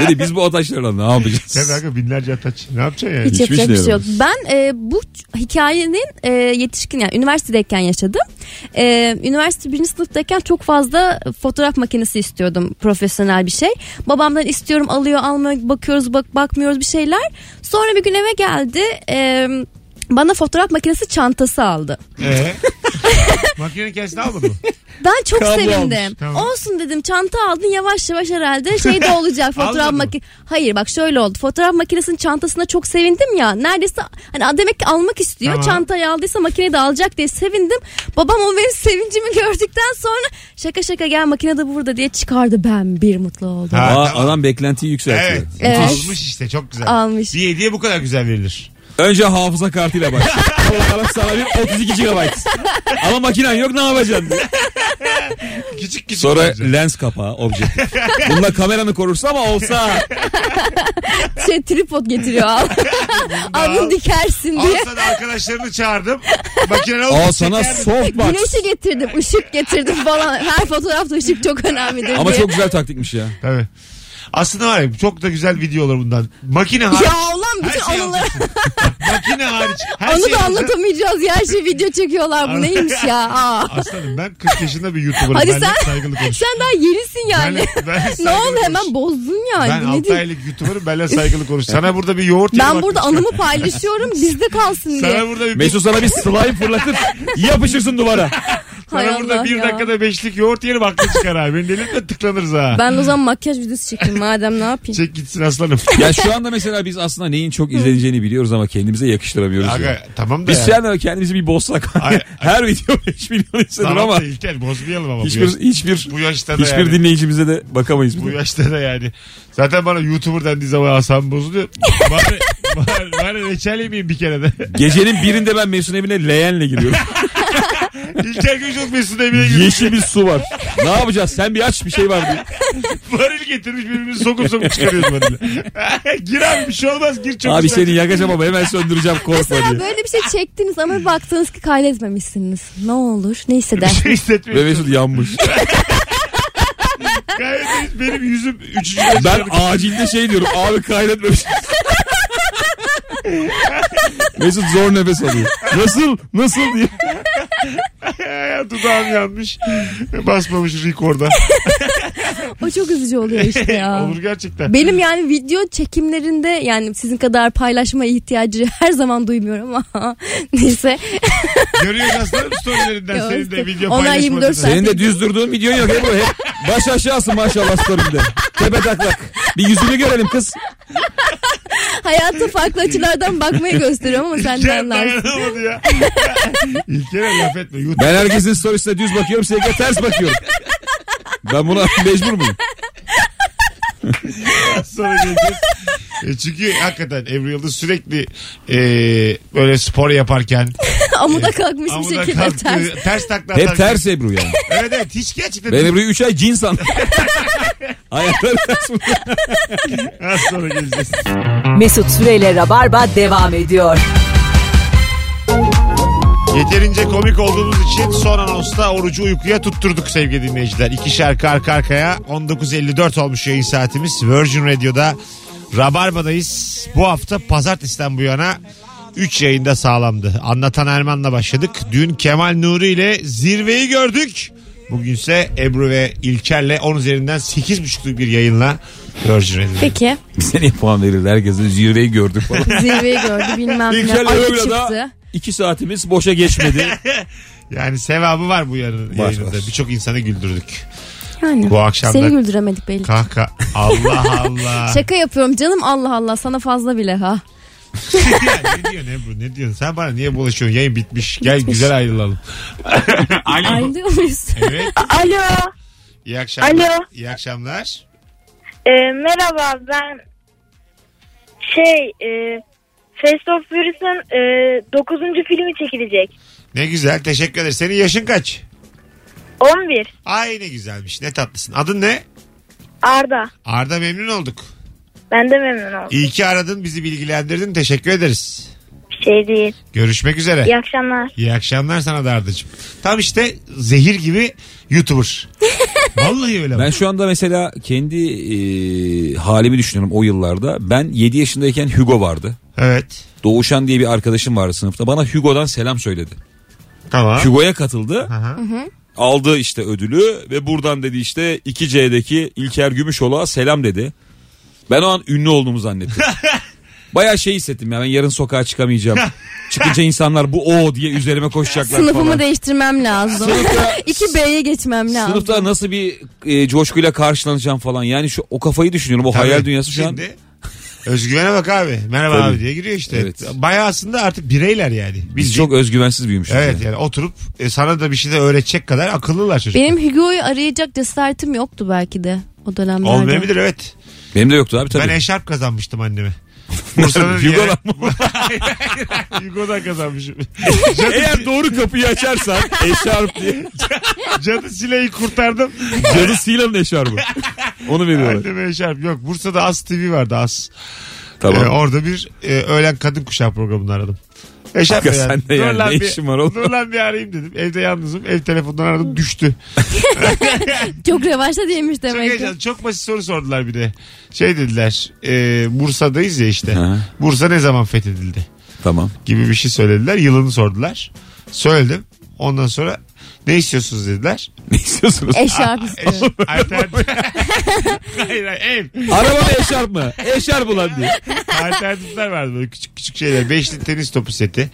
Dedi biz bu ataçlarla ne yapacağız?
Sen kanka binlerce ataç. Ne yapacaksın yani?
Hiç
Hiçbir
yapacak
şey
bir şey yok. Ben e, bu ç- hikayenin e, yetişkin yani üniversitedeyken yaşadım. E, üniversite birinci sınıftayken çok fazla fotoğraf makinesi istiyordum profesyonel bir şey. Babamdan istiyorum alıyor almıyor bakıyoruz bak bakmıyoruz bir şeyler. Sonra bir gün eve geldi e, bana fotoğraf makinesi çantası aldı.
Ee? Makinenin kendisini almadın mı?
Ben çok
Kablo
sevindim.
almış,
tamam.
Olsun dedim çanta aldın yavaş yavaş herhalde şey de olacak fotoğraf
Almadın mı?
makinesi. Hayır bak şöyle oldu fotoğraf makinesinin çantasına çok sevindim ya. Neredeyse hani demek ki almak istiyor.
Tamam.
Çantayı aldıysa makineyi de alacak diye sevindim. Babam o benim sevincimi gördükten sonra şaka şaka gel makine de burada diye çıkardı. Ben bir mutlu oldum.
Ha,
Aa,
tamam.
Adam beklentiyi yükseltiyor.
Evet.
Evet.
Almış işte çok güzel.
Almış.
Bir hediye bu kadar güzel verilir.
Önce hafıza kartıyla başla. Allah Allah sana bir 32 GB. Ama makinen yok ne yapacaksın? diye.
Küçük küçük.
Sonra
bence.
lens kapağı, objektif. Bununla kameranı korursa ama olsa.
Şey tripod getiriyor al. Alın dikersin diye.
Alsa da arkadaşlarını çağırdım. Makine oldu.
Aa sana
çekerdim.
softbox.
Güneşi getirdim, ışık getirdim falan. Her fotoğrafta ışık çok önemlidir
Ama
diye.
çok güzel taktikmiş ya.
Tabii. Aslında var ya çok da güzel video olur bundan. Makine hariç.
Ya ulan
her
bütün
şey
anıları
alacaksın. Makine hariç. Her
Onu
şey
da
alacaksın.
anlatamayacağız ya. Her şey video çekiyorlar. Bu neymiş ya? Aa.
Aslanım ben 40 yaşında bir YouTuber'ım.
Hadi
ben
sen-
saygılı konuş.
Sen daha yenisin yani.
Ben- ben
ne
saygılı
oldu
konuş.
hemen bozdun yani.
Ben
ne
6
diyeyim?
aylık YouTuber'ım. Benle saygılı konuş. Sana burada bir yoğurt yeri
Ben
bak-
burada anımı paylaşıyorum. Bizde kalsın
Sana
diye.
burada bir,
Mesut sana bir slime'ı fırlatır. Yapışırsın duvara.
sana
Hay
burada
Allah
bir
ya.
dakikada beşlik yoğurt yeri vakti çıkar abi. Beni delirtme tıklanırız ha.
Ben de o zaman makyaj videosu çekeyim madem ne yapayım.
Çek gitsin aslanım.
Ya şu anda mesela biz aslında neyin çok izleneceğini biliyoruz ama kendimize yakıştıramıyoruz. ya.
Aga, tamam da
Biz
yani.
yani kendimizi bir bozsak.
Ay-
Her video 5 milyon izlenir
Tamam
ama
da İlker bozmayalım ama. bu
hiçbir
yaş-
hiçbir
bu yaşta da
hiçbir
yani.
dinleyicimize de bakamayız. biz.
Bu yaşta da yani. Zaten bana YouTuber dendiği zaman asam bozuluyor. Bari, bari, bari reçel yemeyeyim bir kere de.
Gecenin birinde ben Mesut'un evine leğenle giriyorum.
İlker Gümüşok Mesut evine girmiş.
Yeşil bir su var. Ne yapacağız? Sen bir aç bir şey var diye.
Varil getirmiş birbirimizi sokup sokup çıkarıyoruz böyle. gir abi bir şey olmaz gir çok
Abi
güzel.
seni yakacağım ama hemen söndüreceğim korkma
Mesela
diye.
böyle bir şey çektiniz ama baktınız ki kaydetmemişsiniz. Ne olur ne
Bir
hisseder.
şey
Ve
hissetmiyorum.
Mesut yanmış.
Gayet temiz. benim yüzüm üçüncü yaşında.
Ben acilde şey diyorum. Abi kaydetmemiş. Mesut zor nefes alıyor. Nasıl? Nasıl diye.
Dudağım yanmış. Basmamış rekorda.
o çok üzücü oluyor işte ya.
Olur gerçekten.
Benim yani video çekimlerinde yani sizin kadar paylaşma ihtiyacı her zaman duymuyorum ama neyse.
Görüyoruz aslanım storylerinden
Ya
senin de
işte.
video
Onlar
paylaşmadığını.
24 saat.
Senin de düz durduğun videon yok Ebru. Hep baş aşağısın maşallah story'de. Tepe taklak. Bir yüzünü görelim kız.
Hayata farklı açılardan bakmayı gösteriyorum ama sen de
İlker
anlarsın.
dayanamadı ya. İlker'e laf etme. YouTube.
Ben herkesin storiesine düz bakıyorum. Sevgiye ters bakıyorum. Ben buna mecbur muyum?
Az Sonra geleceğiz. E, Çünkü hakikaten Ebru Yıldız sürekli e, böyle spor yaparken
Amuda kalkmış bir
amuda
şekilde
kalktı,
ters.
ters takla
Hep
atarken-
ters Ebru yani.
Evet evet hiç gerçekten
Ben Ebru'yu 3 ay cin sandım. Hayatları ters bunlar.
Az sonra geleceğiz.
Mesut Süreyle Rabarba devam ediyor.
Yeterince komik olduğumuz için son anonsta orucu uykuya tutturduk sevgili dinleyiciler. İki şarkı arka arkaya 19.54 olmuş yayın saatimiz. Virgin Radio'da Rabarba'dayız. Bu hafta pazartesiden bu yana 3 yayında sağlamdı. Anlatan Erman'la başladık. Dün Kemal Nuri ile zirveyi gördük. Bugünse Ebru ve İlker'le 10 üzerinden 8.5'luk bir yayınla Virgin Radio'da.
Peki.
Bize niye puan verirler? Herkese zirveyi gördük falan.
Zirveyi gördü bilmem ne.
İlker'le
Ayı
öyle
çıktı.
da 2 saatimiz boşa geçmedi.
Yani sevabı var bu yarın
Var,
yayınında.
var.
Birçok insanı güldürdük.
Yani.
Bu akşam
Seni
da
güldüremedik belli.
kahkaha. Allah Allah.
Şaka yapıyorum canım Allah Allah sana fazla bile ha.
Ya ne diyorsun Ebru ne diyorsun? Sen bana niye bulaşıyorsun? Yayın bitmiş. Gel güzel ayrılalım. Alo.
Ayrılıyor muyuz?
Evet.
Alo.
İyi akşamlar.
Alo.
İyi akşamlar.
Ee, merhaba ben şey e, Face of Furious'ın 9. filmi çekilecek.
Ne güzel. Teşekkür ederiz. Senin yaşın kaç?
11
Ay ne güzelmiş. Ne tatlısın. Adın ne?
Arda.
Arda memnun olduk.
Ben de memnun oldum.
İyi ki aradın. Bizi bilgilendirdin. Teşekkür ederiz.
Bir şey değil.
Görüşmek üzere.
İyi akşamlar.
İyi akşamlar sana da Arda'cığım. Tam işte zehir gibi YouTuber. Vallahi öyle.
Ben
Ben...
şu anda mesela kendi e, halimi düşünüyorum o yıllarda. Ben 7 yaşındayken Hugo vardı.
Evet.
Doğuşan diye bir arkadaşım vardı sınıfta. Bana Hugo'dan selam söyledi.
Tamam.
Hugo'ya katıldı.
Aha.
Aldı işte ödülü ve buradan dedi işte 2C'deki İlker Gümüşoğlu'na selam dedi. Ben o an ünlü olduğumu zannettim. Baya şey hissettim ya ben yarın sokağa çıkamayacağım. Çıkınca insanlar bu o diye üzerime koşacaklar
Sınıfımı
falan.
değiştirmem lazım.
Sınıfta-
2B'ye geçmem lazım.
Sınıfta nasıl bir e, coşkuyla karşılanacağım falan. Yani şu o kafayı düşünüyorum. O hayal
Tabii.
dünyası şu an.
Şimdi özgüvene bak abi. Merhaba
Tabii.
abi diye giriyor işte.
Evet.
Bayağı aslında artık bireyler yani.
Biz
Bildiğin-
çok özgüvensiz büyümüşüz.
Evet
yani.
yani oturup e, sana da bir şey de öğretecek kadar akıllılar çocuklar.
Benim Hugo'yu arayacak cesaretim yoktu belki de o dönemlerde.
Olmayabilir evet.
Benim de yoktu abi tabii.
Ben eşarp kazanmıştım anneme. Bursa'nın
Hugo'dan
yere-
mı?
Hayır, hayır. Hugo'dan kazanmışım.
Eğer doğru kapıyı açarsan eşarp diye.
Cadı Sile'yi kurtardım.
Cadı Sila'nın eşarbı. Onu veriyorlar.
Anneme eşarp yok. Bursa'da As TV vardı As. Ee,
Tamam.
orada bir e, öğlen kadın kuşağı programını aradım. Eşarp
Hakikaten
yani.
de yani,
Dur lan
ne
bir-
işin var oğlum?
Dur lan bir arayayım dedim. Evde yalnızım. Ev telefonundan aradım düştü.
Çok revaçta değilmiş
Çok
demek ki.
heyecanlı. Çok basit soru sordular bir de. Şey dediler. e, Bursa'dayız ya işte.
Ha.
Bursa ne zaman fethedildi?
Tamam.
gibi bir şey söylediler. Yılını sordular. Söyledim. Ondan sonra ne istiyorsunuz dediler. E,
Ne istiyorsunuz?
Ah,
Eşarp istiyor.
Alternatif. hayır hayır ev.
Araba mı eşarp mı? Eşarp ulan diye.
Alternatifler vardı böyle küçük küçük şeyler. Beşli tenis topu seti.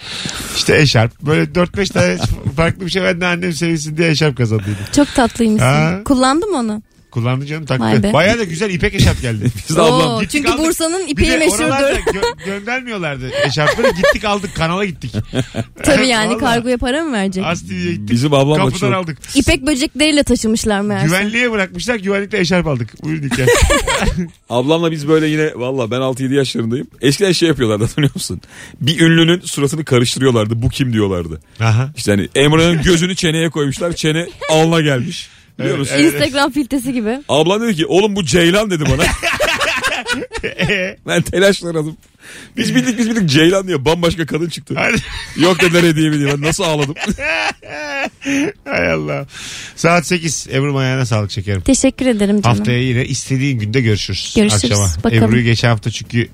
İşte eşarp. Böyle 4-5 tane farklı bir şey ben de annem sevinsin diye eşarp kazandıydım.
Çok tatlıymışsın.
Ha.
Kullandım onu.
Kullandı canım
Vay
taktı.
be.
Baya da güzel ipek eşarp geldi.
Biz de ablam.
Oo,
Gittik
çünkü
aldık.
Bursa'nın
Bir
ipeği
de oralarda
meşhurdur.
gö- göndermiyorlardı eşarpları. Gittik aldık kanala gittik.
Tabii yani
Vallahi.
kargoya para mı verecek?
Az TV'ye gittik.
Bizim ablam da
Kapıdan
çok-
aldık.
İpek böcekleriyle taşımışlar meğerse.
Güvenliğe bırakmışlar. Güvenlikte eşarp aldık. Buyurun İlker.
Ablamla biz böyle yine valla ben 6-7 yaşlarındayım. Eskiden şey yapıyorlardı hatırlıyor musun? Bir ünlünün suratını karıştırıyorlardı. Bu kim diyorlardı.
Aha.
İşte hani Emre'nin gözünü çeneye koymuşlar. Çene alna gelmiş. Biliyor
Evet,
musun?
evet.
Instagram filtresi gibi.
Ablam dedi ki oğlum bu Ceylan dedi bana.
Ee,
ben telaşlandım. Biz bildik biz bildik Ceylan diyor. Bambaşka kadın çıktı.
hadi.
Yok dediler hediye mi diye. Ben nasıl ağladım.
Hay Allah. Saat 8. Ebru ayağına sağlık şekerim.
Teşekkür ederim canım.
Haftaya yine istediğin günde görüşürüz.
Görüşürüz.
Akşama.
Bakalım.
Ebru'yu geçen hafta çünkü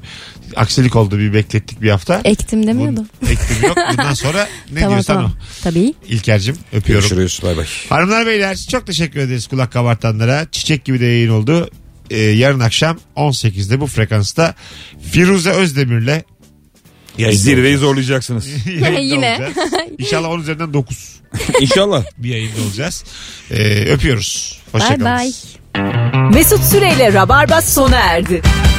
aksilik oldu bir beklettik bir hafta.
Ektim demiyordum.
Bun- Ektim yok. Bundan sonra ne diyorsan
Tabii.
o. İlker'cim öpüyorum.
Görüşürüz bay bay.
Hanımlar beyler çok teşekkür ederiz kulak kabartanlara. Çiçek gibi de yayın oldu. Ee, yarın akşam 18'de bu frekansta Firuze Özdemir'le yayında
Zirveyi
olacağız.
zorlayacaksınız.
Yayında
Yine.
olacağız. İnşallah 10 üzerinden 9
İnşallah.
bir yayında olacağız. Ee, öpüyoruz.
Bay
Hoşçakalın.
bay.
Mesut Süreyle Rabarba sona erdi.